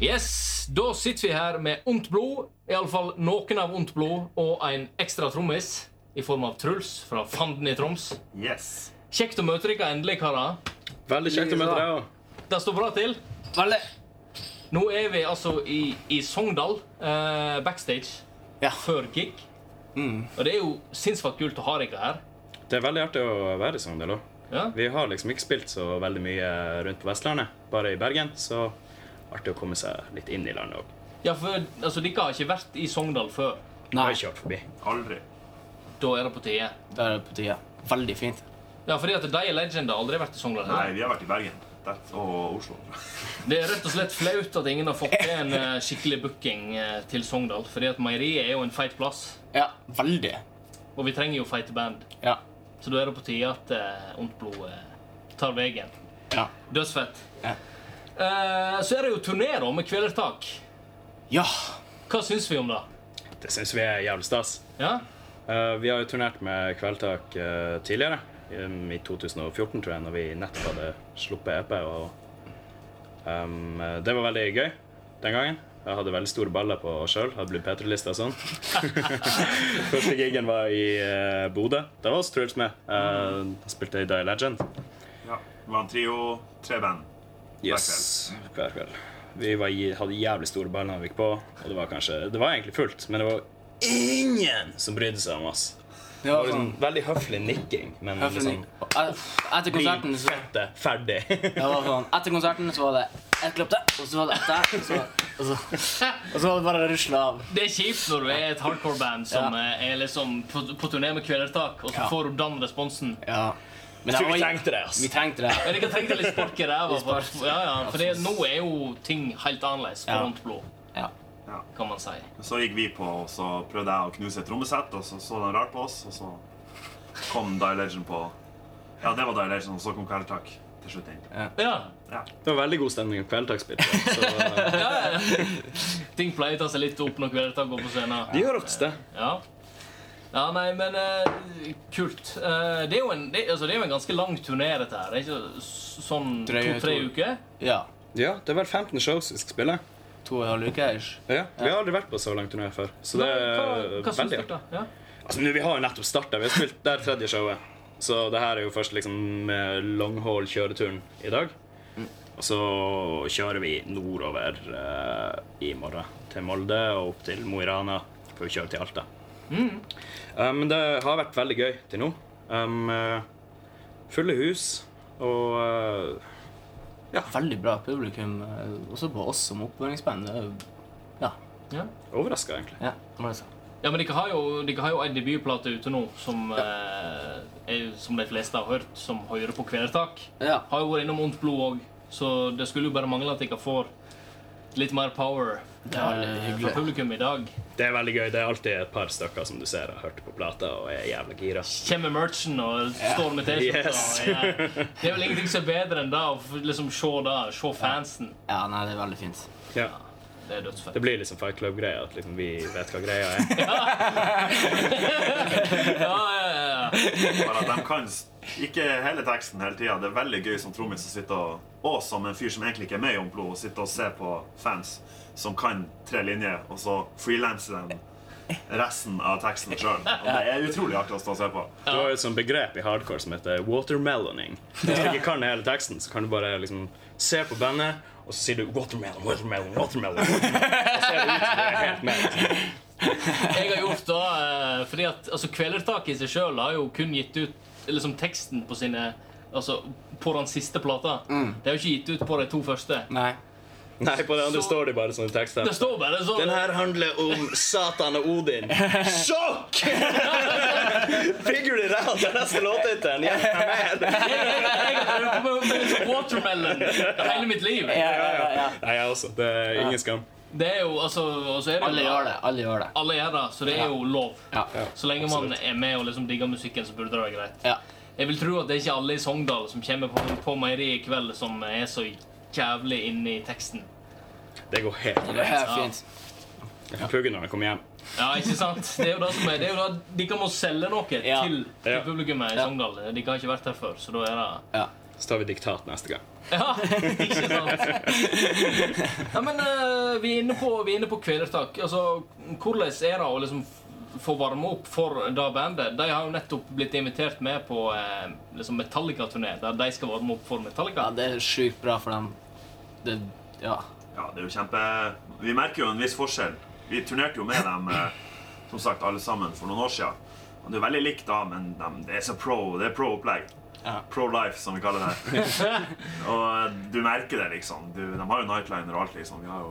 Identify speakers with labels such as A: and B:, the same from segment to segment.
A: Yes, Da sitter vi her med ondt blod, iallfall noen av ondt blod, og en ekstra trommis i form av Truls fra Fanden i Troms.
B: Yes.
A: Kjekt å møte dere endelig, karer.
C: Veldig kjekt å møte deg òg.
A: Det står bra til.
D: Veldig.
A: Nå er vi altså i, i Sogndal, eh, backstage,
D: Ja. Mm.
A: før gig. Og det er jo sinnssykt kult å ha dere her.
C: Det er veldig artig å være i Sogndal òg.
A: Ja?
C: Vi har liksom ikke spilt så veldig mye eh, rundt på Vestlandet, bare i Bergen. Så artig å komme seg litt inn i landet òg.
A: ja, for altså, dere har ikke vært i Sogndal før.
D: Nei,
C: Har kjørt forbi.
B: Aldri.
A: Da er det på tide.
D: det er på tide. Veldig fint.
A: Ja, fordi at de legender har aldri vært i Sogndal.
B: Nei,
A: heller.
B: vi har vært i Bergen That's, og Oslo.
A: Det er rett og slett flaut at ingen har fått til en eh, skikkelig booking eh, til Sogndal. Fordi at meieriet er jo en feit plass,
D: Ja, veldig.
A: og vi trenger jo feite band.
D: Ja.
A: Så da er det på tide at eh, Ondt blod eh, tar veien.
D: Ja.
A: Dødsfett.
D: Ja.
A: Eh, så er det jo turné da, med Kvelertak.
D: ja.
A: Hva syns vi om det?
C: Det syns vi er jævlig stas.
A: Ja?
C: Eh, vi har jo turnert med Kveldtak eh, tidligere, um, i 2014, tror jeg, når vi nettopp hadde sluppet EP. Og, um, eh, det var veldig gøy den gangen. Jeg hadde veldig store baller på sjøl. Hadde blitt P3-lista og sånn. Første gigen var i eh, Bodø. Da var også Truls med. Eh, han spilte i Die Legend.
B: Ja. Det var en trio, tre band.
C: Yes, hver kveld. Vi var, i- hadde jævlig store baller når vi gikk på, og det var kanskje Det var egentlig fullt, men det var ingen som brydde seg om oss.
D: Det
C: Det var
D: var sånn
C: liksom veldig høflig nikking, men
D: Høflig
C: liksom
D: nikk. Eh, Etter konserten så
C: Fette, ferdig.
D: det var sånn, etter konserten så var det ett klapp der, og så var det ett der, og så, og så, og så var det bare å rusle av.
A: Det er kjipt når du er et hardcore-band som
D: Ja.
A: eh, er liksom på, på turné med Kvelertak, og så
D: Ja.
A: får du den responsen.
D: Ja. Men
C: Jeg
D: det
C: tror vi
D: var-
C: trengte det. ass.
D: Vi trengte det.
A: Men jeg trengte litt spark i ræva.
D: Litt spark.
A: for- Ja, ja, for det, nå er jo ting helt annerledes på
D: Ja.
A: Ondt blod,
D: Ja.
B: Ja.
A: kan man si.
B: Så gikk vi på, og så prøvde jeg å knuse et trommesett, og så så de rart på oss, og så kom Die Legend på Ja, det var Die Legend, og så kom Kvelertak til slutt inn.
A: Ja,
B: Ja.
C: Det var veldig god stemning på kveldtaksspillet. Så eh,
A: Ting pleier å ta seg litt opp når Kvelertak går på scenen.
C: de gjør ofte det.
A: Ja. ja, nei, men eh, kult. Eh, det, er jo en, det, altså, det er jo en ganske lang turné, dette her. Det er ikke s- sånn
D: Drøye
A: to-tre
D: to-
A: uker?
D: ja.
C: Ja, det er vel 15 shows vi skal spille.
D: To og en halv uke ish.
C: Ja, Vi har aldri vært på så lang turné før, så det
A: Hva,
C: er
A: hva syns
C: veldig
A: dere,
C: artig.
A: da? Ja.
C: Altså, nå, Vi har jo nettopp starta. Vi har spilt der tredje showet. Så det her er jo først liksom eh, longhaul-kjøreturen i dag. Og så kjører vi nordover eh, i morgen. Til Molde og opp til Mo i Rana. For vi kjører til Alta. Um, men det har vært veldig gøy til nå. Um, eh, fulle hus og eh,
D: Veldig bra publikum, eh, også på oss som oppvarmingsband. Det er jo- Ja.
A: Ja.
C: overraska, egentlig.
D: ja. det var det sånn.
A: ja, men dere har jo, dere har jo ei debutplate ute nå som, eh, er, som de fleste har hørt, som hører på Kvelertak.
D: Ja.
A: Har jo vært innom Ondt blod òg, så det skulle jo bare mangle at dere får litt mer power
D: Det var litt
A: eh,
D: hyggelig.
A: fra publikum i dag.
C: Det er veldig gøy. Det er alltid et par stykker som du ser har hørt på plata og er jævla gira.
A: Kommer merchen og står med T-skjorta.
C: Yes.
A: og er- Det er vel ingenting som er bedre enn det å f- liksom se det, se fansen.
D: Ja, nei, det er veldig fint.
C: Ja.
A: Det er dødsfett.
C: Det blir liksom Fight Club-greia. At liksom vi vet hva greia er.
A: Ja, ja, ja, ja.
B: Bare at de kan s- ikke hele teksten hele tida. Det er veldig gøy som trommis å sitte og Og som en fyr som egentlig ikke er med i Om blod, å sitte og se på fans som kan tre linjer, og så freelanse dem resten av teksten sjøl. Og det er utrolig artig å stå og se på.
C: Du har jo et sånt begrep i hardcore som heter watermeloning. Hvis du ikke kan hele teksten, så kan du bare liksom se på bandet, og så sier du 'watermelon, watermelon, watermelon'. watermelon. Og så er det ut som det er helt med.
A: Jeg har gjort det eh, fordi at altså, Kvelertaket i seg sjøl har jo kun gitt ut liksom, teksten på sine Altså på den siste plata.
D: Mm.
A: Det er jo ikke gitt ut på de to første.
D: Nei.
C: Nei, på det andre
A: Så-
C: står det bare sånne tekster.
A: Det står bare sånn.
C: Den her handler om Satan og Odin. Sjokk! Figure it out! Det er neste låttittelen. Hjelp meg med.
A: Jeg, jeg, jeg har drevet på med, med liksom watermelon hele mitt liv.
D: Ja, ja, ja, ja.
C: Nei, jeg også. Det er ingen skam.
A: Det er jo, altså, og så er det jo-
D: Alle gjør det. Alle gjør det.
A: Alle gjør det, så det er jo lov.
D: Ja.
A: Så lenge man
C: Absolutt.
A: er med og liksom digger musikken, så burde det være greit.
D: ja.
A: Jeg vil tro at det er ikke alle i Sogndal som kommer på, på meieriet i kveld, som er så jævlig inne i teksten.
C: Det går helt
D: Det er fint.
C: Jeg kan plugge når jeg kommer hjem.
A: Ja, ikke sant? Det er jo det som er, det er jo det, De kan må selge noe
D: Ja.
A: til, til
C: Ja.
A: publikummet i
D: Ja.
A: Sogndal. De har ikke vært her før, så da er det
D: Ja.
C: Så tar vi diktat neste gang.
A: Ja, ikke sant? Ja, men eh, vi, er inne på, vi er inne på kvelertak. Altså, hvordan er det å liksom f- få varme opp for det bandet? De har jo nettopp blitt invitert med på eh, liksom Metallica-turné, der de skal varme opp for Metallica.
D: Ja, det er sjukt bra for dem. Det, ja.
B: Ja, det er jo kjempe... Vi merker jo en viss forskjell. Vi turnerte jo med dem, eh, som sagt, alle sammen for noen år siden. Og det er jo veldig likt da, men de, det er så pro, det er pro-opplegg.
D: Ja.
B: Pro-life, som vi kaller det. og eh, du merker det, liksom. Du, de har jo nightliner og alt, liksom. Vi har jo...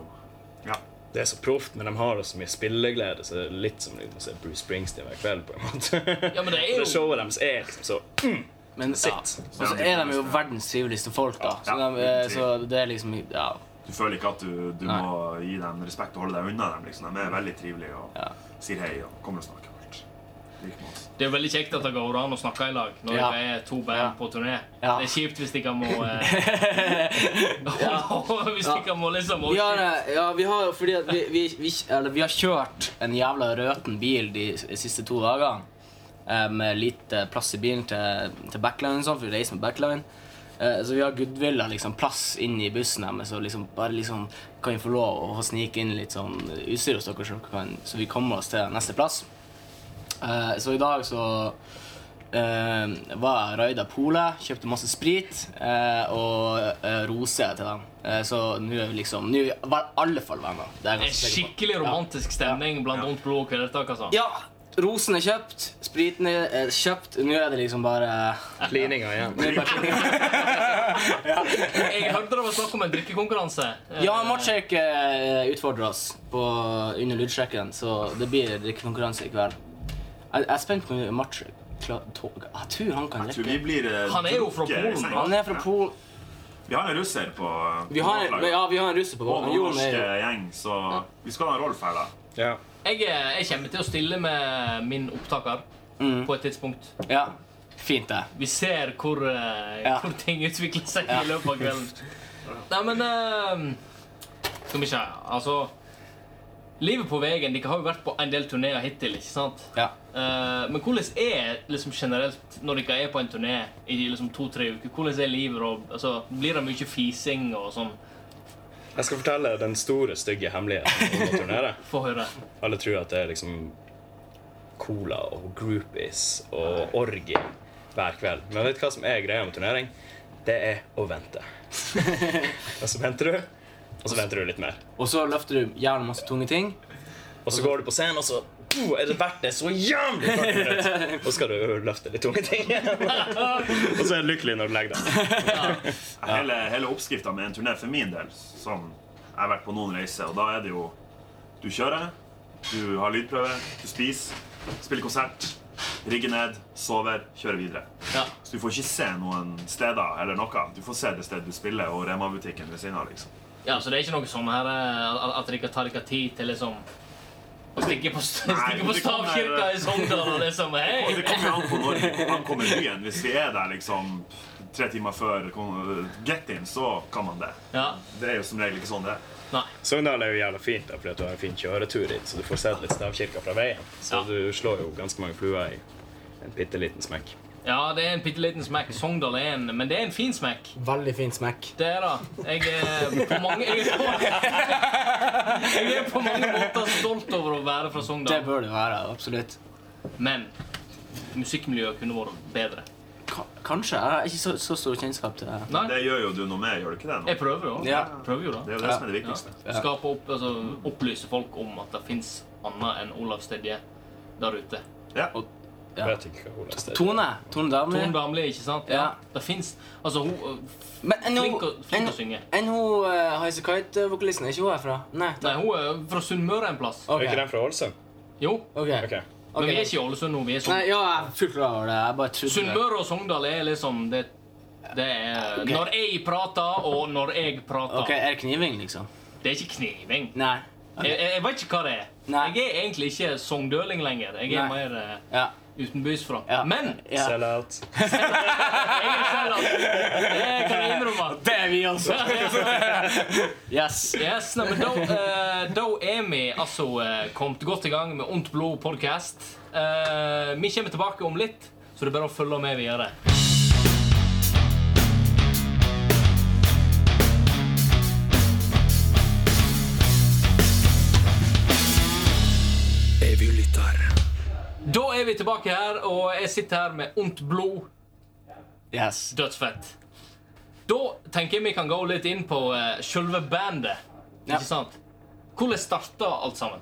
B: Ja.
C: Det er så proft, men de har jo så mye spilleglede, så det er litt som liksom, å se Bruce Springsteen hver kveld. på en måte.
A: Ja, men det er jo-
C: Det showet deres er liksom så
D: Men ja.
C: Sitt.
D: Og så er de jo verdens triveligste folk, da. Så,
B: Ja,
D: de, eh,
B: uten tvil.
D: så det er liksom Ja.
B: Du føler ikke at du, du
D: Nei.
B: må gi dem respekt og holde deg unna dem, liksom. De er veldig trivelige og
D: Ja.
B: sier hei og kommer og snakker og alt. Liker med oss.
A: Det er jo veldig kjekt at det går an å snakke i lag når
D: Ja.
A: det er to band
D: Ja.
A: på turné.
D: Ja.
A: Det er kjipt hvis de ikke må eh, Hvis de
D: Ja.
A: ikke må liksom
D: Vi har, eh, ja, vi har fordi at vi, vi, vi, eller, vi har kjørt en jævla røten bil de s- siste to dagene. eh, Med lite plass i bilen til, til backline, og sånn, for vi reiser med backline. Eh, Så vi har goodwilla liksom, plass inn i bussen deres. Og liksom, bare liksom, kan vi få lov å snike inn litt sånn utstyr hos dere, så, dere kan, så vi kommer oss til neste plass. Eh, Så i dag så eh, var jeg raida polet, kjøpte masse sprit eh, og uh, rose til dem. Eh, så nå er vi liksom Nå er vi i alle fall venner.
A: Det
D: Det er jeg
A: er
D: ganske sikker på.
A: skikkelig romantisk stemning blant
B: Ja.
A: Ondt blod og Kvelertak. Altså.
D: Ja, rosen er kjøpt, spriten er er kjøpt. Nå er det liksom bare
C: Klininga igjen.
D: nå er det bare-
A: Jeg hørte det var snakk om en drikkekonkurranse. Eh,
D: Ja, Matshake eh, utfordrer oss på, under lydsjekken, så det blir drikkekonkurranse i kveld. Jeg, jeg er spent på om Matshake kla- tå- Jeg tror han kan
B: Jeg tror vi
D: drikke.
B: blir eh,
A: Han er jo fra
B: drukket i
A: Polen,
B: seng.
A: da.
D: Han er fra Polen.
B: Vi har en russer på
D: Vi har,
B: på
D: en-
B: laget.
D: ja, vi har en russer på
B: Og
D: banen.
B: noen
D: Jon
B: norske
D: er
B: eh, gjeng, så vi skal ha en Rolf her, da.
C: Ja.
A: Jeg, eh, jeg kommer til å stille med min opptaker
D: Mm.
A: på et tidspunkt.
D: jo Ja. Fint, det.
A: Vi ser hvor, eh,
D: Ja.
A: hvor ting utvikler seg i løpet av kvelden. Nei, men eh, Skal vi se. Altså Livet på veien Dere har jo vært på en del turneer hittil, ikke sant?
D: Ja.
A: Eh, men hvordan er liksom generelt når dere er på en turné i liksom to-tre uker? Hvordan er livet da? Altså, blir det mye fising og sånn?
C: Jeg skal fortelle den store, stygge hemmeligheten om å turnere.
A: Få høre.
C: Alle tror at det er liksom cola og groupies og orgie hver kveld. Men vet du hva som er greia med turnering? Det er å vente. Og så venter du, og så venter du litt mer.
D: Og så løfter du gjerne masse tunge ting.
C: Og så går du på scenen, og så oh, er det verdt det så jævlig fucking høyt. Og så skal du løfte litt tunge ting. og så er du lykkelig når du legger deg.
B: Hele, hele oppskrifta med en turné for min del, som jeg har vært på noen reiser, og da er det jo Du kjører, du har lydprøve, du spiser, spiller konsert, rigger ned, sover, kjører videre.
A: Ja.
B: Så du får ikke se noen steder eller noe. Du får se det stedet du spiller, og Rema-butikken ved siden av, liksom.
A: Ja, så det er ikke noe sånn her eh, at- at dere tar dere tid til liksom å stikke på, st-
B: Nei,
A: stikke på
B: det kommer-
A: stavkirka i Sogndal og liksom
B: Og det
A: Hei!
B: kommer jo an på når vi ankommer byen. Hvis vi er der liksom tre timer før kon- get-in, så kan man det.
A: Ja.
B: Det er jo som regel ikke sånn det er.
A: Nei.
C: Sogndal er jo jævla fint, da, fordi at du har en fin kjøretur dit, så du får sett litt stavkirka fra veien. Så
A: Ja.
C: du slår jo ganske mange fluer i en bitte liten smekk.
A: Ja, det er en bitte liten smekk. Sogndal er en Men det er en fin smekk.
D: Veldig fin smekk.
A: Det er det. Jeg er på mange Jeg er på, jeg er på mange måter stolt over å være fra
D: Det
A: Sogndal,
D: bør det være, absolutt.
A: men musikkmiljøet kunne vært bedre.
D: Ka- Kanskje. Jeg har ikke så, så stor kjennskap til det.
A: Nei,
B: Det gjør jo du noe med, gjør du ikke det? nå?
A: jeg prøver jo.
D: Ja.
A: Prøver jo da.
B: Det er jo det som er det
A: Ja.
B: viktigste.
A: Skape opp, altså, opplyse folk om at det fins annet enn Olav Stedje der ute.
B: Ja.
D: Ja.
C: Vet ikke hva Ola stedet.
D: Tone. Tone
A: Tone
D: Damli.
A: Damli, ikke sant?
D: Ja.
A: Det fins Altså, hun
D: Men enn
A: Flink å- flink
D: enn-
A: å synge.
D: Enn hun uh, Highasakite-vokalisten. Er ikke hun herfra? Nei.
A: Nei, hun er fra Sunnmøre en plass.
D: Ok.
C: Er ikke den fra Ålesund?
A: Jo.
D: Ok.
C: Ok.
A: Men vi er
D: Ok.
A: ikke i Ålesund nå. vi er i
D: Nei,
A: Sogndal.
D: ja, jeg er fullt klar over det. Jeg bare trodde det.
A: Sunnmøre og Sogndal er liksom det, det er
D: Ok.
A: Når jeg prater, og når jeg prater.
D: Ok, Er det kniving, liksom?
A: Det er ikke kniving.
D: Nei. Ok.
A: Jeg, jeg, jeg vet ikke hva det er.
D: Nei.
A: Jeg er egentlig ikke sogndøling lenger. Jeg er
D: Nei.
A: mer eh,
D: Ja.
A: utenbysfra.
D: ja.
A: Men jeg
D: ja.
C: Sell-out.
A: er selv Det kan jeg innrømme.
D: Det er vi, altså. Yes.
A: Yes, nei, men da, eh, da er vi altså eh, kommet godt i gang med Ondt blod podcast. Eh, vi kommer tilbake om litt, så det er bare å følge med videre. er vi tilbake her, og jeg sitter her med ondt blod.
D: Yes.
A: Dødsfett. Da tenker jeg vi kan gå litt inn på uh, sjølve bandet.
D: Ja.
A: Ikke sant? Hvordan starta alt sammen?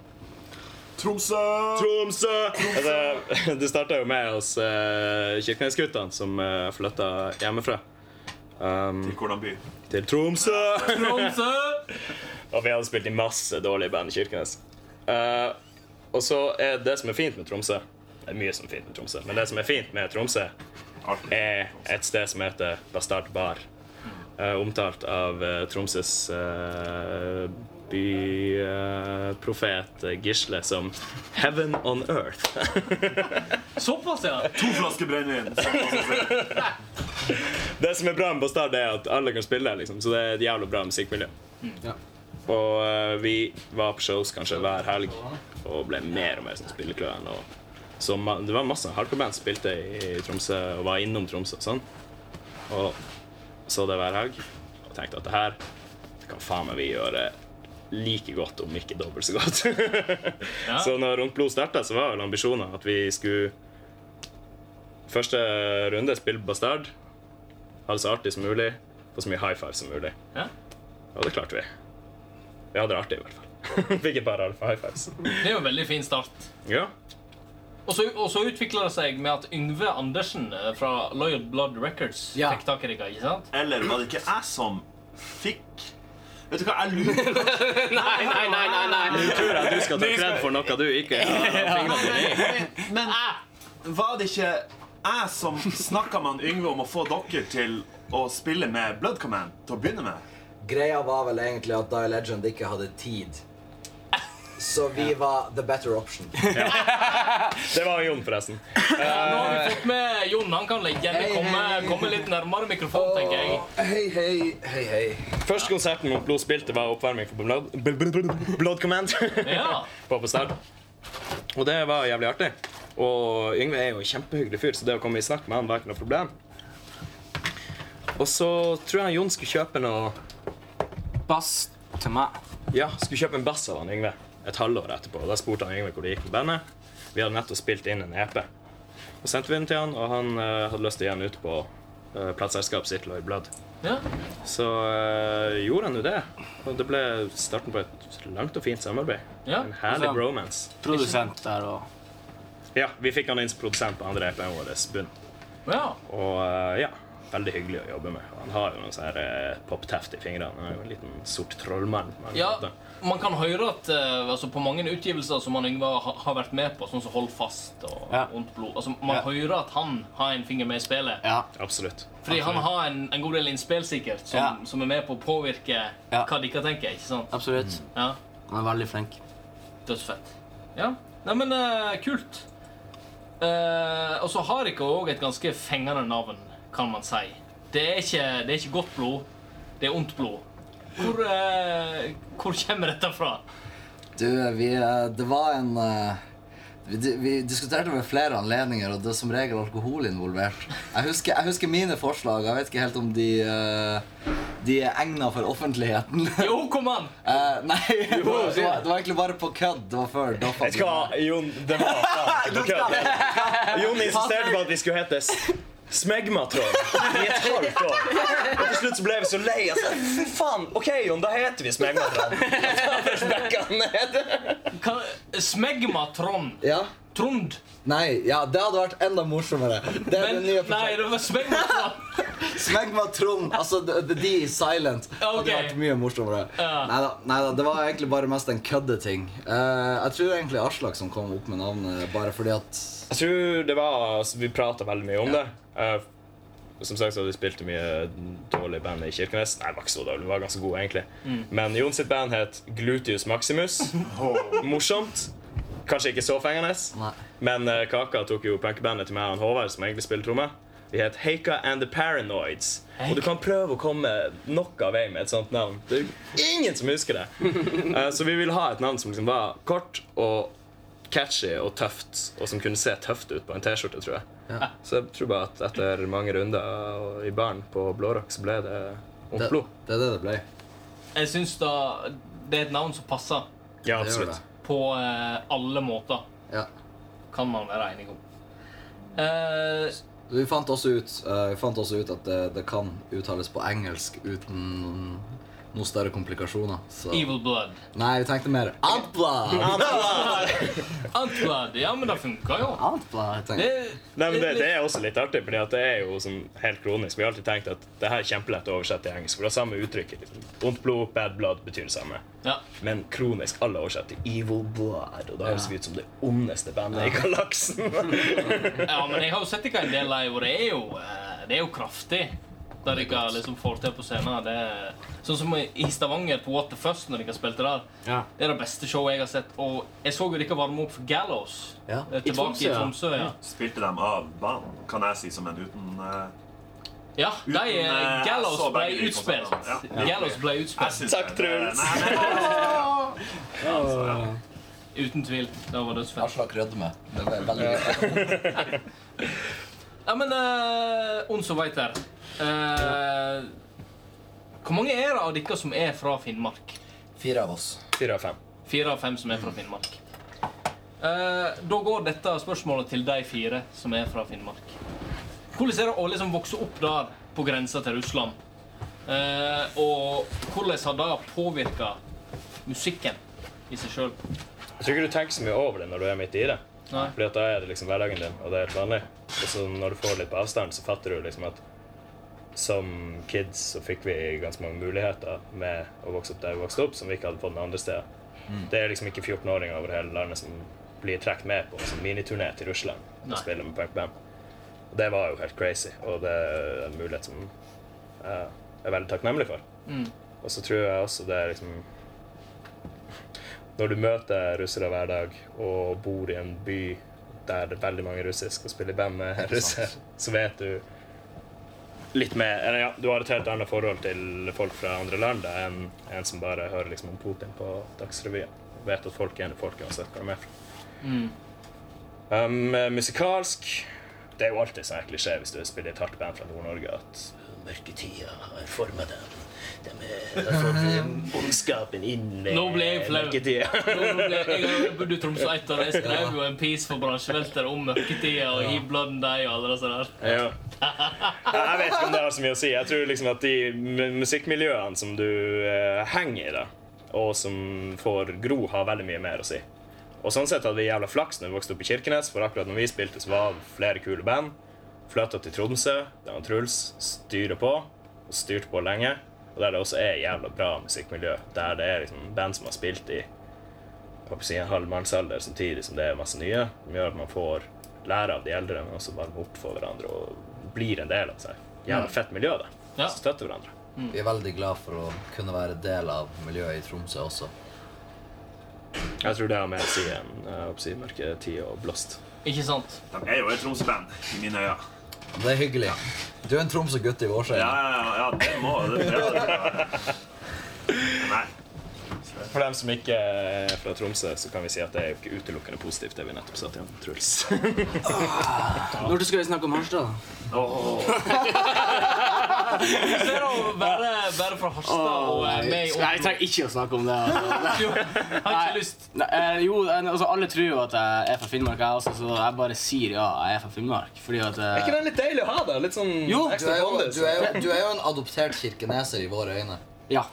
B: Tromsø!
C: Tromsø! Altså, det starta jo med oss uh, kirkenesguttene som uh, flytta hjemmefra. Um,
B: Hvordan by?
C: til Tromsø!
A: Tromsø!
C: og vi hadde spilt i masse dårlige band i Kirkenes. Eh, og så er det som er fint med Tromsø Det er mye som er fint med Tromsø, men det som er fint med Tromsø,
B: Arten.
C: er et sted som heter Bastard Bar. eh, omtalt av eh, Tromsøs eh, byprofet eh, Gisle som 'Heaven on Earth'.
A: Såpass, ja.
B: To flasker brennevin. Sånn,
C: Det som er bra med Bastard, det er at alle kan spille, liksom, så det er et jævlig bra musikkmiljø.
D: Ja.
C: Og eh, vi var på shows kanskje hver helg og ble mer og mer som spillekløen. Og så ma det var masse hardcore-band som spilte i Tromsø og var innom Tromsø og sånn. Og så det hver helg og tenkte at det her det kan faen meg vi gjøre like godt, om ikke dobbelt så godt.
A: Ja.
C: Så når Rundt blod starta, så var vel ambisjonen at vi skulle Første runde spille Bastard. Ha det så artig som mulig. Få så mye high five som mulig.
A: ja.
C: Og det klarte vi. Vi hadde det artig, i hvert fall. Fikk et par alfa high fives.
A: Det er jo en veldig fin start.
C: Ja.
A: Og så, og så utvikla det seg med at Yngve Andersen eh, fra Loyal Blood Records
D: Ja.
A: fikk tak i dere. ikke sant?
B: Eller var det ikke jeg som fikk Vet du hva, jeg lurer på
D: Nei, nei, nei, nei, nei.
C: Tror jeg du skal ta kred for noe du ikke har fingrene dine i.
B: Men var det ikke jeg som snakka med han Yngve om å få dere til å spille med Blood Command til å begynne med?
E: Greia var vel egentlig at Die Legend ikke hadde tid. Så vi var the better option.
C: Det var Jon, forresten.
A: Nå har vi fått med Jon. Han kan gjerne
E: Eh. Hei,
A: komme,
E: hei, hei.
A: komme litt nærmere mikrofonen, tenker jeg.
E: Og Hei, hei, hei, hei.
C: Første konserten mot Blod spilte, var oppvarming for Blood, Blood Command.
A: Ja.
C: på på start. Og det var jævlig artig. Og Yngve er jo en kjempehyggelig fyr, så det å komme i snakk med han var ikke noe problem. Og så tror jeg Jon skulle kjøpe noe
D: Bass til meg.
C: Ja, skulle kjøpe en bass av han Yngve et halvår etterpå. Og Da spurte han Yngve hvor det gikk med bandet. Vi hadde nettopp spilt inn en EP. Og sendte vi den til han, og han eh, hadde lyst til å gi den ut på uh, plateselskapet sitt Lloyd Blood.
A: ja.
C: Så eh, gjorde han jo det. Og det ble starten på et langt og fint samarbeid.
A: Ja,
C: En herlig
D: altså-
C: bromance.
D: Produsent der og
C: Ja, vi fikk han inn som produsent på andre EP-en vår, Bunn.
A: ja.
C: Og eh, ja, veldig hyggelig å jobbe med. Han har jo noen sånne her, eh, popteft i fingrene. Han er jo en liten sort trollmann. på mange
A: Ja,
C: måter.
A: man kan høre at eh, altså på mange utgivelser som han Yngvar ha, har vært med på, sånn som Hold fast og
D: Ja.
A: Ondt blod altså, Man
D: Ja.
A: hører at han har en finger med i spillet.
D: Ja.
C: Absolutt.
A: Fordi han har en, en god del innspill sikkert som,
D: Ja.
A: som er med på å påvirke
D: Ja.
A: hva dere tenker. ikke sant?
D: Absolutt.
A: Ja,
D: Han er veldig flink.
A: Dødsfett. Ja, Neimen, eh, kult. Eh, og så har dere òg et ganske fengende navn, kan man si. Det er ikke, det er ikke godt blod, det er ondt blod. Hvor, eh, hvor kommer dette fra?
E: Du, vi eh, Det var en eh, vi, di- vi diskuterte ved flere anledninger, og det er som regel alkohol involvert. Jeg husker, jeg husker mine forslag. Jeg vet ikke helt om de eh, De er egna for offentligheten.
A: Jo, kom an!
E: Eh, nei, det var, det
C: sier
E: var det var egentlig bare på kødd. Det var før Doffa.
C: Vet du hva, Jon? Det var faen ikke noe kødd. Jon insisterte på at vi skulle hete S- Smegmatroll i et halvt år. Og til slutt så ble vi så lei. Jeg sa, Fy faen, OK, Jon, da heter vi Smegmatroll. Da først backa han ned.
A: Hva- Smegma Trond.
E: Ja.
A: Trond.
E: Nei, ja, det hadde vært enda morsommere. Det er
A: Men,
E: det nye
A: nei,
E: prosjektet.
A: det var Smegma Trond.
E: Smegma Trond. Altså, the, the D i silent. Det
A: Ok.
E: hadde vært mye morsommere.
A: Ja.
E: Neida, neida, det var egentlig bare mest en køddeting. Eh, jeg tror egentlig Aslak som kom opp med navnet, bare fordi at
C: Jeg tror det var altså, Vi prata veldig mye om det. Eh, som sagt så hadde vi spilt i mye dårlig band i Kirkenes. Nei, det var ikke så dårlig. Vi var ganske gode, egentlig. Men Jon sitt band het Glutius Maximus. Morsomt. Kanskje ikke så fengende.
E: Nei.
C: Men eh, Kaka tok jo punkebandet til meg og han Håvard, som egentlig spiller tromme. De het Heika and the Paranoids. Og du kan prøve å komme nok av vei med et sånt navn. Det er jo ingen som husker det. Eh, så vi ville ha et navn som liksom var kort og catchy og tøft, og som kunne se tøft ut på en T-skjorte, tror jeg. Så jeg tror bare at etter mange runder i baren på Blårock, så ble det
E: det,
C: Ondt blod.
E: det er det det ble.
A: Jeg syns da det er et navn som passer
C: Ja,
E: Det gjør det.
A: på eh, alle måter.
E: Ja.
A: Kan man være enig om. Eh,
E: Vi fant også ut, eh, vi fant også ut at det, det kan uttales på engelsk uten noe større komplikasjoner. Så.
A: evil Blood.
E: Nei, vi tenkte mer Antblad!
A: Antblad. Ja, men det funka jo.
E: Antblad, tenkte
A: Det,
E: jeg.
C: Nei, men det, det er også litt artig, fordi at det er jo sånn helt kronisk. Vi har alltid tenkt at det her er kjempelett å oversette til engelsk. For det er samme uttrykket. Liksom. Ondt blod, bad blood betyr det samme.
A: ja.
C: Men kronisk alle oversetter til evil blood, og da høres vi ut som det ondeste bandet i galaksen.
A: ja, men jeg har jo sett dere en del live, og det er jo, eh, det er jo kraftig. Det dere liksom får til på scenen. Det er, sånn som i Stavanger, på What the First, når dere spilte der.
D: Ja.
A: Det er det beste showet jeg har sett. Og jeg så jo dere varme opp for Gallows.
E: Ja.
A: eh, Tilbake
D: Tromsø,
A: i
D: ja.
A: Tromsø. Ja,
B: Spilte dem av banen, kan jeg si, som en uten eh,
A: ja de,
B: Uten,
A: eh,
B: eh,
A: Gallows
B: så
A: ble
B: begge de
A: utspilt.
B: konsertene. Ja.
A: Gallows ble
B: jeg
A: utspilt.
B: syns
C: Takk,
B: det-
C: Truls.
B: Nei, nei,
A: Uten tvil. Det var dødsfett.
E: Aslak rødme. Det var veldig gøy.
A: Ja, men uh, Ons og Veit her. Eh, hvor mange er det av dere som er fra Finnmark?
E: Fire av oss.
C: Fire av fem.
A: Fire av fem som er fra Finnmark. Eh, da går dette spørsmålet til de fire som er fra Finnmark. Hvordan er det å liksom vokse opp der, på grensa til Russland? Eh, og hvordan har det påvirka musikken i seg sjøl?
C: Jeg tror ikke du tenker så mye over det når du er midt i det.
A: Nei.
C: Fordi at da er det liksom hverdagen din, og det er helt vanlig. Og så når du får litt på avstand, så fatter du liksom at som kids så fikk vi ganske mange muligheter med å vokse opp der vi vokste opp, som vi ikke hadde fått noen andre steder. Det er liksom ikke 14-åringer over hele landet som blir trukket med på en sånn miniturné til Russland
A: Nei.
C: og spiller med punkband. Og det var jo helt crazy, og det er en mulighet som eh, jeg er veldig takknemlig for. Og så tror jeg også det er liksom når du møter russere hver dag og bor i en by der det er veldig mange russiske og spiller i band med russere, så vet du litt mer Eller ja, du har et helt annet forhold til folk fra andre land da, enn en som bare hører liksom om Putin på Dagsrevyen. Vet at folk er folk uansett hvor de er fra.
A: Mm.
C: Um, musikalsk Det er jo alltid sånn klisjé hvis du spiller i et hardt band fra Nord-Norge at mørketida har forma dem. De er- de har fått ondskapen inn med
A: Nå ble jeg flau.
C: mørketida.
A: Jeg bodde i Tromsø ett år. Jeg skrev jo en piece for bransjevelter om mørketida og He Blood and Die og alle det der.
C: Ja. Jeg vet ikke om det har så mye å si. Jeg tror liksom at de mu- musikkmiljøene som du eh, henger i, da, og som får gro, har veldig mye mer å si. Og sånn sett hadde vi jævla flaks når vi vokste opp i Kirkenes, for akkurat når vi spilte, så var det flere kule band. Flytta til Tromsø, der var Truls styrer på, og styrte på lenge. Og der det også er jævla bra musikkmiljø. Der det er liksom band som har spilt i hva skal jeg si, en halv mannsalder samtidig som det er masse nye, som gjør at man får lære av de eldre, men også varme opp for hverandre og blir en del av seg. Jævla fett miljø, da.
A: Ja.
C: Som støtter hverandre.
E: Vi er veldig glad for å kunne være del av miljøet i Tromsø også.
C: Jeg tror det har mer å si enn eh, hva skal jeg si, mørketid og blåst.
A: Ikke sant?
B: nei. De er jo et Tromsø-band i mine øyne.
E: Det er hyggelig. Du er en Tromsø-gutt i vår
B: Ja,
E: side.
B: ja, ja, ja, det må det. Ja, det nei.
C: For dem som ikke er fra Tromsø, så kan vi si at det er jo ikke utelukkende positivt, det vi nettopp sa til han, Truls.
D: Når skal vi snakke om Harstad?
B: Åh,
A: Hvordan er det å være, være fra Harstad og eh, med i
D: Nei, jeg trenger ikke å snakke om det. altså.
A: Jo, Har ikke lyst.
D: Nei, eh, jo, eh, altså, alle tror jo at jeg er fra Finnmark, jeg også, så jeg bare sier ja, jeg er fra Finnmark. Fordi at eh,
C: Er ikke den litt deilig å ha, da? Litt sånn
D: Jo,
E: Du er,
C: ekstra
E: jo,
C: bondus?
E: du, er jo, du er jo en adoptert kirkeneser i våre øyne.
D: Ja,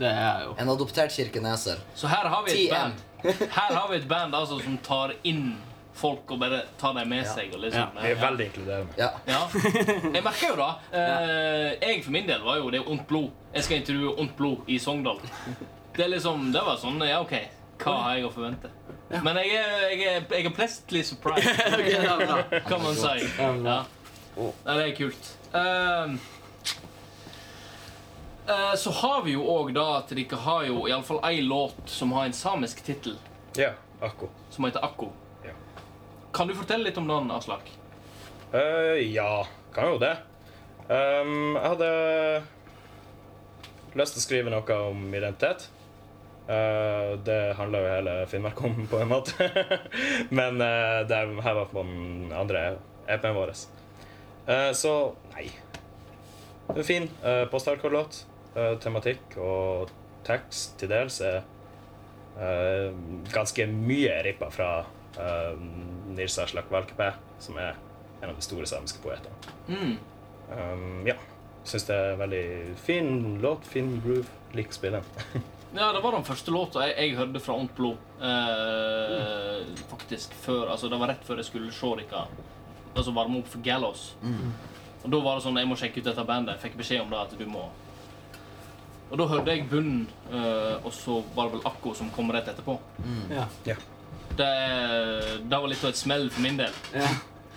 D: det er jeg jo.
E: En adoptert kirkeneser.
A: Så her har vi et
E: TM.
A: band Her har vi et band altså, som tar inn folk og bare tar dem med seg. Og liksom,
C: Vi er
A: eh,
C: veldig inkluderende.
E: Ja.
A: ja. Jeg merker jo da eh, Jeg for min del var jo det er Ondt blod. Jeg skal intervjue Ondt blod i Sogndal. Det er liksom, det var sånn Ja, OK. Hva har jeg å forvente? Men jeg er, jeg er, jeg er pleasantly surprised.
D: Ok, det er bra.
A: kan man si. Ja. Nei, det er kult. Ehm, eh, så har vi jo òg da at dere har jo iallfall ei låt som har en samisk tittel,
C: Ja, akko.
A: som heter Akko.
C: Ja.
A: Kan du fortelle litt om den, Aslak?
C: Eh, ja, kan jo det. Ehm, jeg hadde lyst til å skrive noe om identitet. Eh, det handler jo hele Finnmark om, på en måte. Men eh, det er- her var på den andre EP-en vår. Eh, så nei. Det er fin uh, post-hardcore-låt. Eh, tematikk og tekst til dels er eh, ganske mye rippa fra uh, Nirsa Slakvalkeapää, som er en av de store samiske poetene. Um, ja. Syns det er veldig fin låt, fin groove. Liker å spille den.
A: Ja, det var den første låta jeg, jeg hørte fra Ondt blod. Eh, Faktisk før Altså, det var rett før jeg skulle se dere. Altså varme opp for Gallows. Og da var det sånn Jeg må sjekke ut dette bandet. Jeg fikk beskjed om det at du må. Og da hørte jeg bunnen, eh, og så var det vel Akko som kom rett etterpå.
D: Ja.
C: ja.
A: Det, det var litt av et smell for min del.
D: Ja.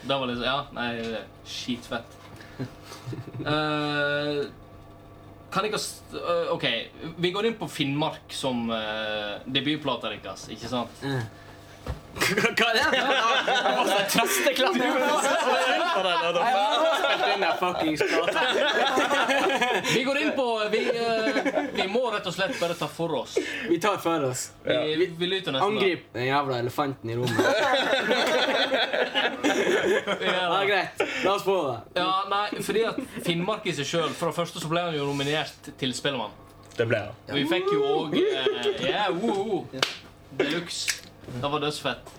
A: Det var liksom Ja, nei, skitfett. Eh, kan ikke st eh, OK, vi går inn på Finnmark som uh, debutplata deres, ikke sant?
D: Hva er sånn det? Trøsteklapp! Jeg har spilt inn den fuckings plata.
A: Vi går inn på Vi, eh, vi må rett og slett bare ta for oss. Vi,
D: Vi tar for oss.
A: vi, vi lyter nesten
D: Angrip den jævla elefanten i rommet.
A: da. Vi gjør
D: Ja,
A: det.
D: greit. La oss få det.
A: Ja, nei, fordi at Finnmark i seg sjøl For det første så ble han jo nominert til Spellemann.
C: Det ble det.
A: Og vi fikk jo òg Ja, woo! De luxe. Det var dødsfett.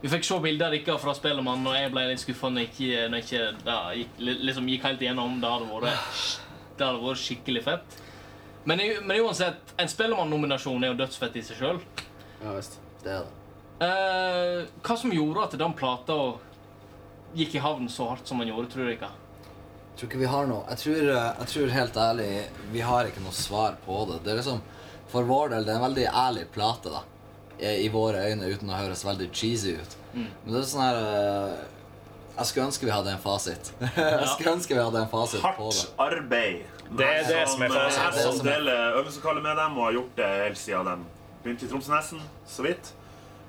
A: Vi fikk se bilder av dere fra Spellemann, og jeg ble litt skuffa når jeg ikke, når jeg ikke ja, gikk, li- liksom gikk helt igjennom. Det hadde vært, det hadde vært skikkelig fett. Men, i- men uansett, en Spellemann-nominasjon er jo dødsfett i seg sjøl.
D: Ja, visst.
E: Det er det.
A: Eh, hva som gjorde at den plata gikk i havn så hardt som den gjorde, tror dere?
E: Jeg tror ikke vi har noe. Jeg tror, eh, jeg tror helt ærlig vi har ikke noe svar på det. Det er liksom, For vår del det er en veldig ærlig plate, da. I, i våre øyne, uten å høres veldig cheesy ut. Men det er sånn her eh, Jeg skulle ønske vi hadde en fasit. jeg skulle ønske vi hadde en fasit på det.
B: Hardt arbeid. sånn, eh,
C: Det er det som er
B: Jeg
C: fasit.
E: Det er det
B: som
E: som er-
B: deler øvelseslokalet eh, med dem og har gjort det helt siden de begynte i Tromsønesen, så vidt.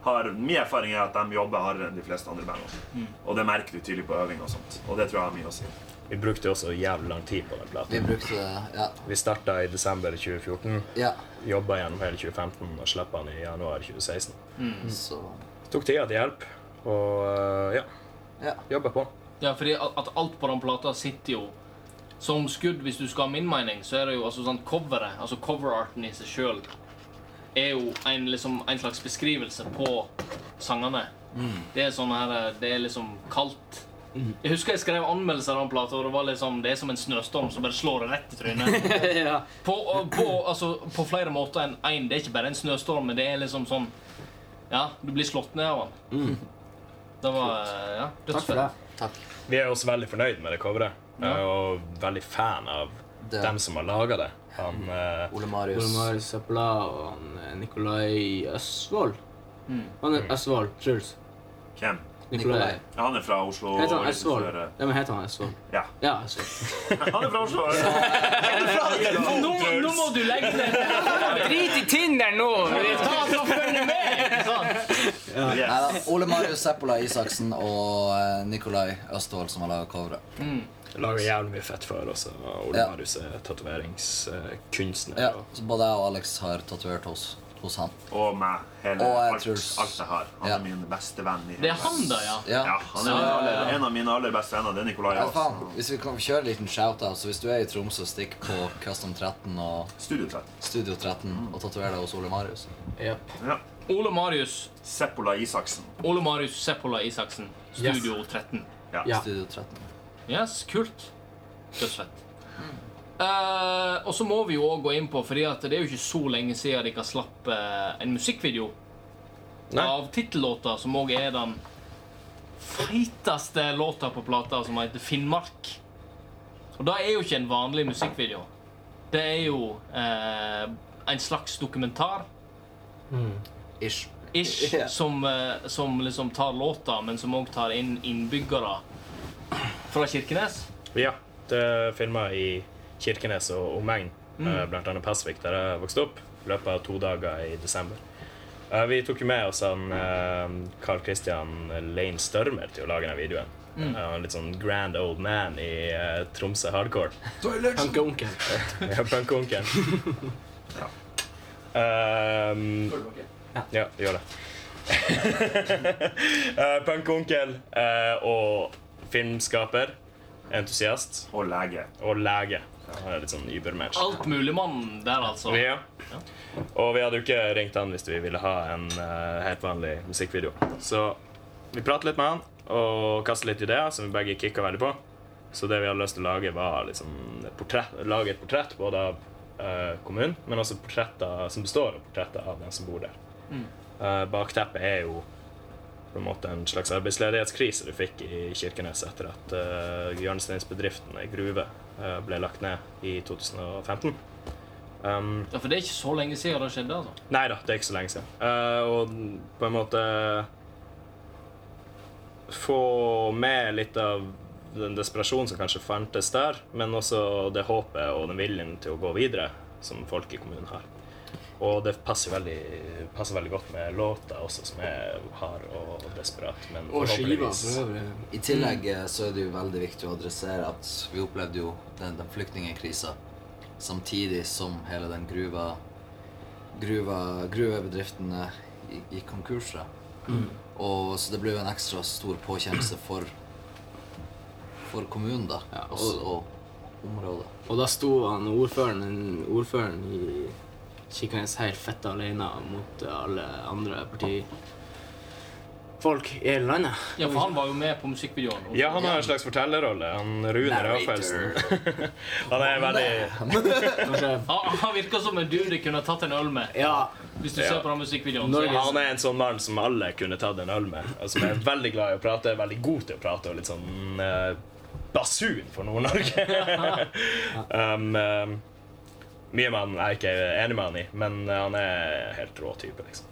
B: Har, min erfaring er at de jobber hardere enn de fleste andre band.
A: Mm.
B: Og det merker du tydelig på øving og sånt. Og det tror jeg har mye å si.
C: Vi brukte jo også jævlig lang tid på den
E: Vi
C: platen.
E: brukte det Ja.
C: Vi starta i desember 2014,
E: ja.
C: jobba gjennom hele 2015 og slapp den i januar 2016.
E: Så
C: Tok tida til hjelp og eh, ja,
E: Ja.
C: jobba på.
A: Ja, fordi at at alt på den plata sitter jo som skudd, hvis du skal ha min mening, så er det jo altså sånn coveret, altså coverarten i seg sjøl, er jo en, liksom, en slags beskrivelse på sangene.
D: Mm.
A: Det er sånn her eh, Det er liksom kaldt. Jeg husker jeg skrev anmeldelser av den plata, og det var liksom Det er som en snøstorm som bare slår deg rett i trynet.
D: Ja.
A: På, og på, altså, på flere måter enn én. Det er ikke bare en snøstorm, men det er liksom sånn Ja, du blir slått ned av den. Det var eh, Ja,
D: Mm. Takk for det.
A: dødsfett.
E: takk.
C: Vi er også veldig fornøyd med det coveret
A: Ja.
C: og veldig fan av
E: Det-
C: dem som har laga det. Han, eh,
E: Ole Marius.
D: Ole Marius Søpla og han, eh, Nikolai Østfold. Han er Østfold. Truls.
B: Hvem?
D: Nikolai.
E: Mm. Nikolai.
B: Ja, han er fra Oslo.
D: Heter
B: og
D: han Østfold?
B: regissør,
D: Ja, men heter han Østfold?
B: eh, Ja.
D: Ja, Østfold.
B: Han er fra Oslo.
A: Nå, nå må du legge ned
D: Drit i Tinder nå!
E: Nei
B: Yes.
E: da. Ole Marius Seppola Isaksen og eh, Nikolai Østfold som har laga coveret.
C: lager jævlig mye fett før også. og Ole
E: Ja.
C: Marius er tatoveringskunstner.
E: Ja,
C: og-
E: så både jeg og Alex har tatovert hos, hos han.
B: Og meg. Hele,
E: Og jeg
B: alt,
E: Truls.
B: alt jeg har. Han
E: Ja.
B: er min beste venn i hele
A: Det er han,
B: verden.
A: da, ja.
E: Ja.
B: Ja, han er min aller, en av mine aller beste venner. Det er Nikolai
E: Ja, faen.
B: Aas.
E: Hvis vi kan kjøre en liten shout-out, så hvis du er i Tromsø, stikk på Custom 13 og
B: Studietrett.
E: Studio 13 og tatover deg hos Ole Marius.
D: Yep.
B: Ja.
A: Ole Marius
B: Seppola Isaksen.
A: Ole Marius Seppola Isaksen, Studio 13.
D: Ja.
E: Studio 13.
A: Yes, kult. Dødsfett. Eh, og så må vi jo òg gå inn på, fordi at det er jo ikke så lenge siden dere slapp eh, en musikkvideo
C: Nei.
A: av tittellåta, som òg er den feiteste låta på plata, som heter Finnmark. Og det er jo ikke en vanlig musikkvideo. Det er jo eh, en slags dokumentar.
E: Ish.
A: ish
E: Ja.
A: som, eh, som liksom tar låta, men som òg tar inn innbyggere fra Kirkenes.
C: Ja, det er filma i Kirkenes og omegn,
E: Mm.
C: eh, blant annet Pasvik, der jeg vokste opp, i løpet av to dager i desember. Eh, Vi tok jo med oss han eh, Carl Christian Lane Størmer til å lage den videoen.
E: Mm.
C: Eh, Han er litt sånn grand old man i eh, Tromsø hardcore.
D: Punkeonkel.
C: Ja, Punkonkelen. Ehm, ja, gjør det. Eh, Punkonkel eh, og filmskaper, entusiast
B: Og lege.
C: og lege. Han er litt sånn übermensch.
A: Altmuligmannen der, altså.
C: Ja. Og vi hadde jo ikke ringt han hvis vi ville ha en eh, helt vanlig musikkvideo. Så vi pratet litt med han, og kaste litt ideer, som vi begge kicka veldig på. Så det vi hadde lyst til å lage, var liksom portrett, lage et portrett både av eh, kommunen, men også portretter som består av portretter av den som bor der. Eh, bakteppet er jo på en måte en slags arbeidsledighetskrise du fikk i Kirkenes etter at uh, hjørnesteinsbedriften i Gruve eh, ble lagt ned i 2015. Um,
A: Ja, For det er ikke så lenge siden det skjedde. altså.
C: Nei da, det er ikke så lenge siden. Eh, og på en måte Få med litt av den desperasjonen som kanskje fantes der, men også det håpet og den viljen til å gå videre som folk i kommunen har. Og det passer veldig, passer veldig godt med låta også, som er hard og desperat. Men
F: Og skiva
C: forhåpentligvis-
F: for øvrig.
E: I tillegg eh, så er det jo veldig viktig å adressere at vi opplevde jo den, den flyktningkrisa samtidig som hele den gruva, gruva gruvebedriften eh, gikk- gikk konkurs. da. Og så det ble jo en ekstra stor påkjennelse for, for kommunen, da.
D: Ja, altså. og-
E: også, og området.
D: Og da sto han ordføreren, den ordføreren i Kirkenes helt fett alene mot alle andre partifolk i hele landet.
A: Ja, For han var jo med på musikkvideoen.
C: Ja, han har en slags fortellerrolle. Han Rune Rafaelsen. han er veldig
D: Kanskje
A: Han, han virker som en dude de kunne tatt en øl med.
D: Ja.
A: Hvis du
C: Ja.
A: ser på den musikkvideoen.
D: Norge-
A: Så,
C: Han er en sånn mann som alle kunne tatt en øl med. og Som er veldig glad i å prate, er veldig god til å prate og litt sånn eh, basun for Nord-Norge. um, um, mye man er ikke enig med han i, men han er helt rå type, liksom.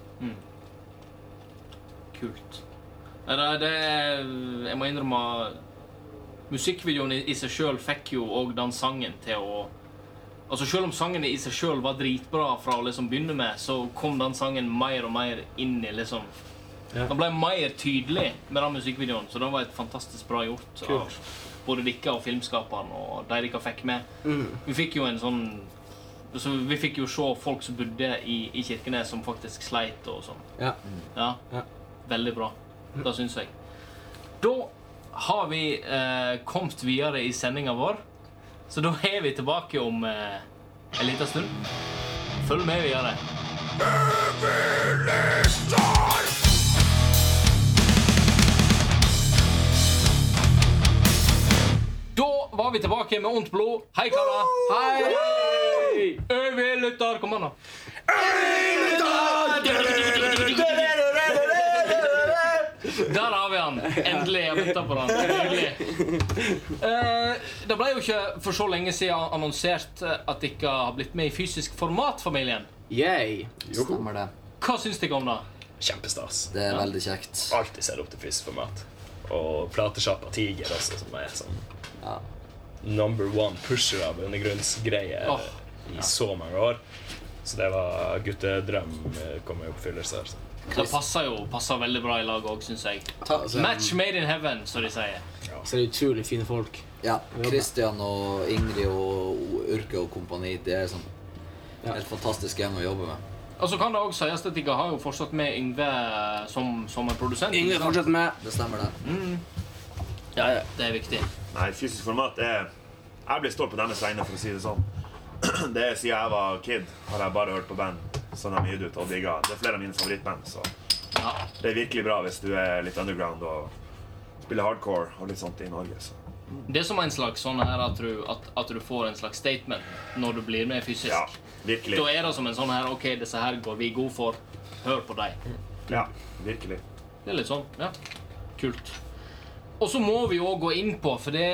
A: kult. Nei, det, det er, Jeg må innrømme Musikkvideoen i, i seg sjøl fikk jo òg den sangen til å Altså Selv om sangen i seg sjøl var dritbra fra å liksom begynne med, så kom den sangen mer og mer inn i liksom
F: Ja.
A: Den ble mer tydelig med den musikkvideoen, så den var et fantastisk bra gjort av både dere og filmskaperen og de dere fikk med.
F: Mm.
A: Vi fikk jo en sånn så Vi fikk jo se folk som bodde i, i Kirkenes, som faktisk sleit og sånn.
F: Ja.
A: Ja.
F: Ja.
A: Veldig bra. Det syns jeg. Da har vi eh, kommet videre i sendinga vår, så da er vi tilbake om eh, en liten stund. Følg med videre. Da var vi tilbake med ondt blod. Hei, karer. Hei! Øvilytter. Kom an, da. Der har vi han. Endelig. Jeg venta på han. Nydelig. Eh, det ble jo ikke for så lenge siden annonsert eh, at dere har blitt med i fysisk format, familien.
D: Yay.
E: Stemmer det.
A: Hva syns dere om det?
C: Kjempestas.
E: Det er veldig kjekt.
C: Alltid ser opp til fysisk format. Og platesjappa Tiger også, som er sånn
E: Ja.
C: number one pusher av undergrunnsgreier
A: Åh,
C: i så mange år. Så det var guttedrøm eh, kom i oppfyllelse. her, så.
A: Det passer jo passer veldig bra i lag òg, syns jeg.
E: Takk.
D: altså.
A: Match made in heaven, som de sier.
D: Så er det utrolig fine folk.
E: Ja, Christian og Ingrid og Urke og kompani, det er sånn helt fantastisk gjeng å jobbe med.
A: Og så kan det òg sies at dere har jo fortsatt med Yngve eh, som, som en produsent.
D: Yngve
A: ikke sant?
D: fortsetter med
E: Det stemmer, det.
A: Ja, ja, det er viktig.
B: Nei, fysisk format er Jeg blir stolt på deres vegne, for å si det sånn. Det er Siden jeg var kid, har jeg bare hørt på band som de gir ut og digga. Det er flere av mine favorittband, så
A: Ja.
B: det er virkelig bra hvis du er litt underground og spiller hardcore og litt sånt i Norge. Så.
A: Det er som en slags sånn her at du, at, at du får en slags statement når du blir med fysisk.
B: Ja, virkelig.
A: Da er det som en sånn her OK, disse her går vi god for. Hør på dem.
B: Ja, virkelig.
A: Det er litt sånn. Ja. Kult. Og så må vi òg gå inn på, for det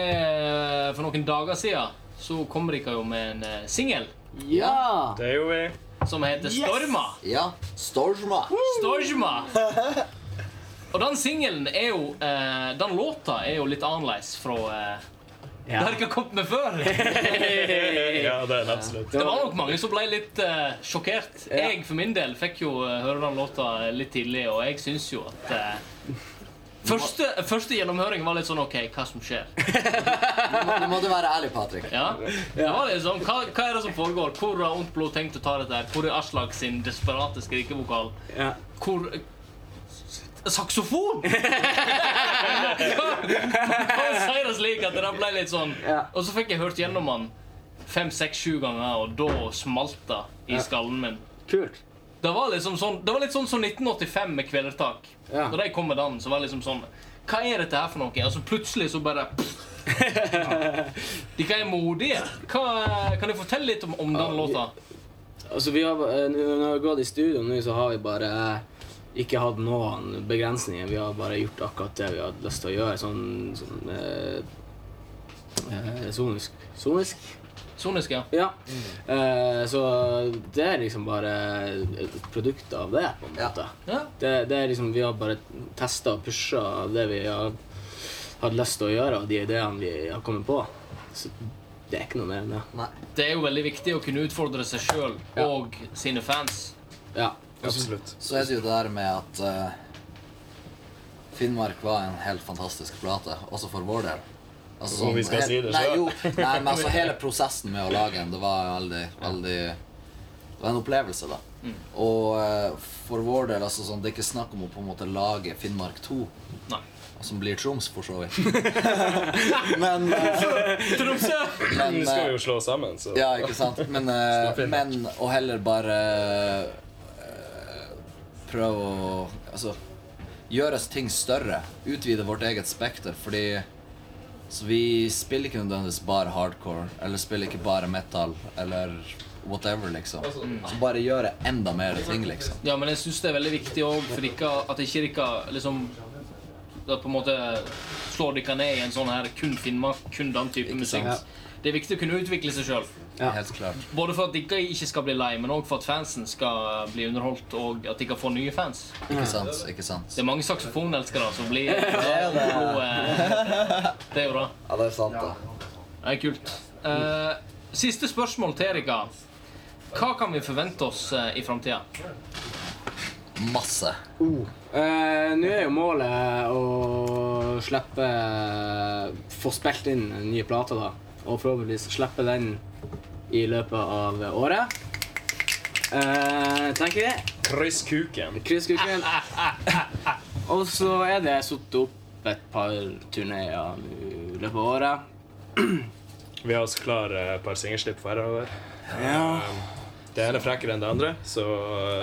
A: For noen dager siden så kom dere jo med en eh, singel
D: Ja!
C: Det er jo vi.
A: som heter Storma.
E: Ja, Storma.
A: Storma. Og den singelen er jo eh, Den låta er jo litt annerledes fra eh, det dere har kommet med før.
C: Ja, det er det absolutt.
A: Det var nok mange som ble litt eh, sjokkert. Jeg for min del fikk jo eh, høre den låta litt tidlig, og jeg syns jo at eh, Første, første gjennomhøring var litt sånn OK, hva som skjer?
E: Du må, du må du være ærlig, Patrick.
A: Ja, det var litt sånn, hva, hva er det som foregår? Hvor har Ondt blod tenkt å ta dette? her? Hvor er Aslak sin desperate skrikevokal?
D: Ja.
A: Hvor eh, Saksofon! Han sier det slik at det ble litt sånn.
D: Ja.
A: Og så fikk jeg hørt gjennom han fem, seks, sju ganger, og da smalt det i skallen min.
D: Kult.
A: Det var liksom sånn Det var litt sånn som 1985 med Kvelertak.
D: Ja.
A: Når de kom med den, så var det liksom sånn Hva er dette her for noe? Altså Plutselig så bare pff. De hva er modige. Hva, kan du fortelle litt om, om den låta?
D: Altså, vi har, eh, nå- når vi har gått i studio nå, så har vi bare eh, ikke hatt noen begrensninger. Vi har bare gjort akkurat det vi har hatt lyst til å gjøre, sånn, sånn eh, eh, sonisk. Sonisk?
A: Sonisk, ja.
D: Ja. Eh, så det er liksom bare et produkt av det, på en
E: Ja.
D: måte.
A: ja.
D: Det, det er liksom, Vi har bare testa og pusha det vi har hatt lyst til å gjøre, og de ideene vi har kommet på. Så det er ikke noe mer enn det.
E: Nei.
A: Det er jo veldig viktig å kunne utfordre seg sjøl
D: Ja.
A: og sine fans.
D: Ja.
C: Absolutt.
E: Så er det jo det der med at eh, Finnmark var en helt fantastisk plate, også for vår del. Altså,
C: Om vi skal si det
E: nei,
C: selv.
E: jo, nei, men altså hele prosessen med å lage en, det var veldig, veldig Det var en opplevelse, da. Og eh, for vår del, altså sånn, det er ikke snakk om å på en måte lage Finnmark 2,
A: Nei.
E: som blir Troms, for så vidt. men eh,
A: Tromsø!
E: men
C: Vi
E: eh,
C: skal jo slå sammen, så
E: ja, ikke sant? Men, eh, men å heller bare eh, prøve å Altså gjøre ting større. Utvide vårt eget spekter, fordi så vi spiller ikke nødvendigvis bare hardcore, eller spiller ikke bare metal, eller whatever, liksom. Så bare gjøre enda mer ting, liksom.
A: Ja, men jeg syns det er veldig viktig òg for dere at ikke dere liksom da på en måte slår dere ned i en sånn her kun Finnmark, kun den type musikk.
D: sant?
A: Det er viktig å kunne utvikle seg sjøl.
D: Ja.
E: Helt klart.
A: Både for at dere ikke skal bli lei, men òg for at fansen skal bli underholdt, og at dere får nye fans.
E: Ikke sant? Ikke sant?
A: Det er mange saksofonelskere som blir det,
E: er det.
A: det er jo bra.
E: Ja, det er sant, da.
A: Det er kult. Eh, siste spørsmål til dere. Hva kan vi forvente oss eh, i framtida?
E: Masse.
D: Eh, Nå er jo målet å slippe Få spilt inn den nye plata, da. Og forhåpentligvis slippe den i løpet av året. Eh, tenker jeg.
C: kryss kuken.
D: Krysskuken. Og så er det satt opp et par turneer nå i løpet av året.
C: Vi har også klar eh, et par singelslipp for hver.
D: Ja.
C: Det ene er frekkere enn det andre, så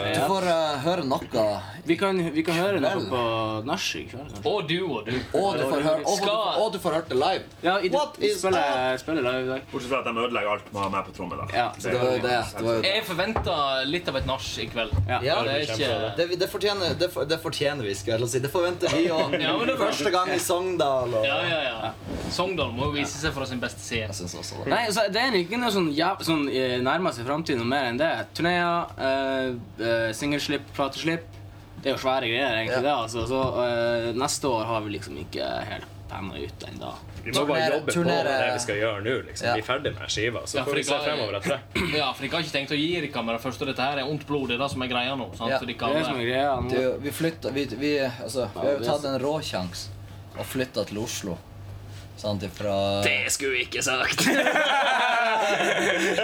C: eh,
E: Du får eh, høre noe,
D: Vi kan, vi kan høre noe
E: Vel.
D: på nach i kveld, kanskje.
A: Og du og du.
E: og du får høre, og du,
A: Skal-
E: og du får hørt det live.
D: Ja, i,
E: What
D: vi
E: is
D: spiller, spiller live i dag.
B: Bortsett fra at de ødelegger alt med å ha meg på tromme. da.
D: Ja, så
E: Det var jo det. det, var jo det.
A: Jeg forventer litt av et nach i kveld.
D: Ja.
E: Ja,
A: Det er ikke
E: Det, det, fortjener, det, for, det fortjener vi, skal jeg til å si. Det forventer vi òg.
A: Ja, men det var-
E: Første gang i Sogndal. Og...
A: Ja, ja, ja. Sogndal må jo vise seg fra sin beste side.
E: Jeg synes også det.
D: Nei, så det er ikke noe sånn, ja, sånn eh, nærmer seg fremtiden noe mer enn det. Turneer, eh, eh, singelslipp, plateslipp. Det er jo svære greier, egentlig. det, altså. Så eh, neste år har vi liksom ikke helt penna ut ennå.
C: vi må bare
E: Turnere-
C: jobbe på
E: turnere-
C: det vi skal gjøre nå. liksom.
E: Ja.
C: Vi er ferdig med skiva, så
A: Ja, for
C: får vi se
A: det ga-
C: fremover etter det.
A: Ja, for dere har ikke tenkt å gi dere med det første. Dette her er ondt blod. Det er det som er greia nå. sant?
E: Ja.
A: For dere
D: Det er det som er
A: alle.
D: greia
E: Det er
D: nå.
E: jo- vi flytta vi, vi, altså, vi har jo tatt en råsjanse og flytta til Oslo. Sant ifra
C: skulle vi ikke sagt.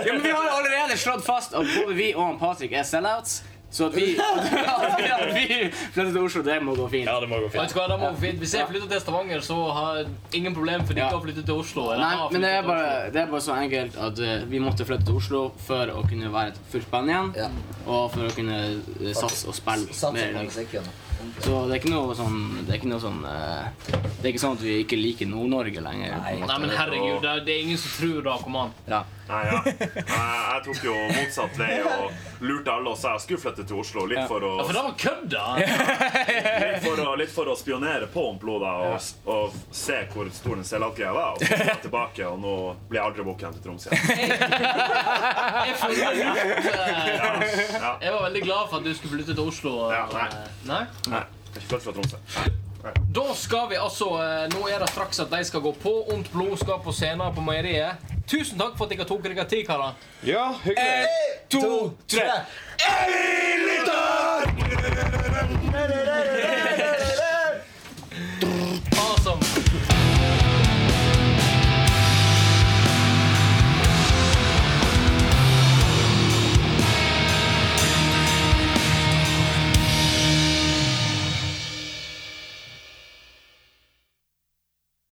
D: Ja, men vi har jo allerede slått fast at både vi og han Patrick er sellouts. Så at vi, at vi- at vi flytter til Oslo, det må gå fint.
C: Ja, det må gå
A: Vet
C: fint.
A: du hva, da må vi fint. Hvis jeg flytter til Stavanger, så har jeg ingen problem for dere
D: Ja.
A: å flytte til Oslo. eller
D: Nei,
A: har
D: men det er,
A: flyttet til
D: bare,
A: Oslo.
D: det er bare så enkelt at eh, vi måtte flytte til Oslo for å kunne være et fullt band igjen.
E: Ja.
D: Og for å kunne eh, satse og spille
E: Satser
D: mer.
E: på
D: liksom.
E: musikken.
D: Så det er ikke noe sånn Det er ikke noe sånn eh, Det er ikke sånn at vi ikke liker Nord-Norge lenger. på en måte.
A: Nei, men herregud, det er, det er ingen som tror det. Kom an.
D: Ja.
B: Nei, ja. Jeg jeg tok jo motsatt vei og lurte alle og sa jeg skulle flytte til Oslo. Litt for å,
A: Ja, for det var kødd, da!
B: litt for å, litt for å spionere på om Plo, da, og, s- og se hvor stor den selvhattgreia var. Og så kom jeg tilbake, og nå blir jeg aldri booket igjen til Troms igjen.
A: Jeg føler litt eh,
B: Ja.
A: Jeg var veldig glad for at du skulle flytte til Oslo. eh,
B: Ja, nei.
A: nei?
B: Nei, jeg er ikke flyttet fra Tromsø.
A: Da skal vi altså eh, Nå er det straks at de skal gå på. Ondt blod skal på scenen på Meieriet. Tusen takk for at dere tok dere tid, karer.
C: Ja, hyggelig.
E: To, tre!
B: Litt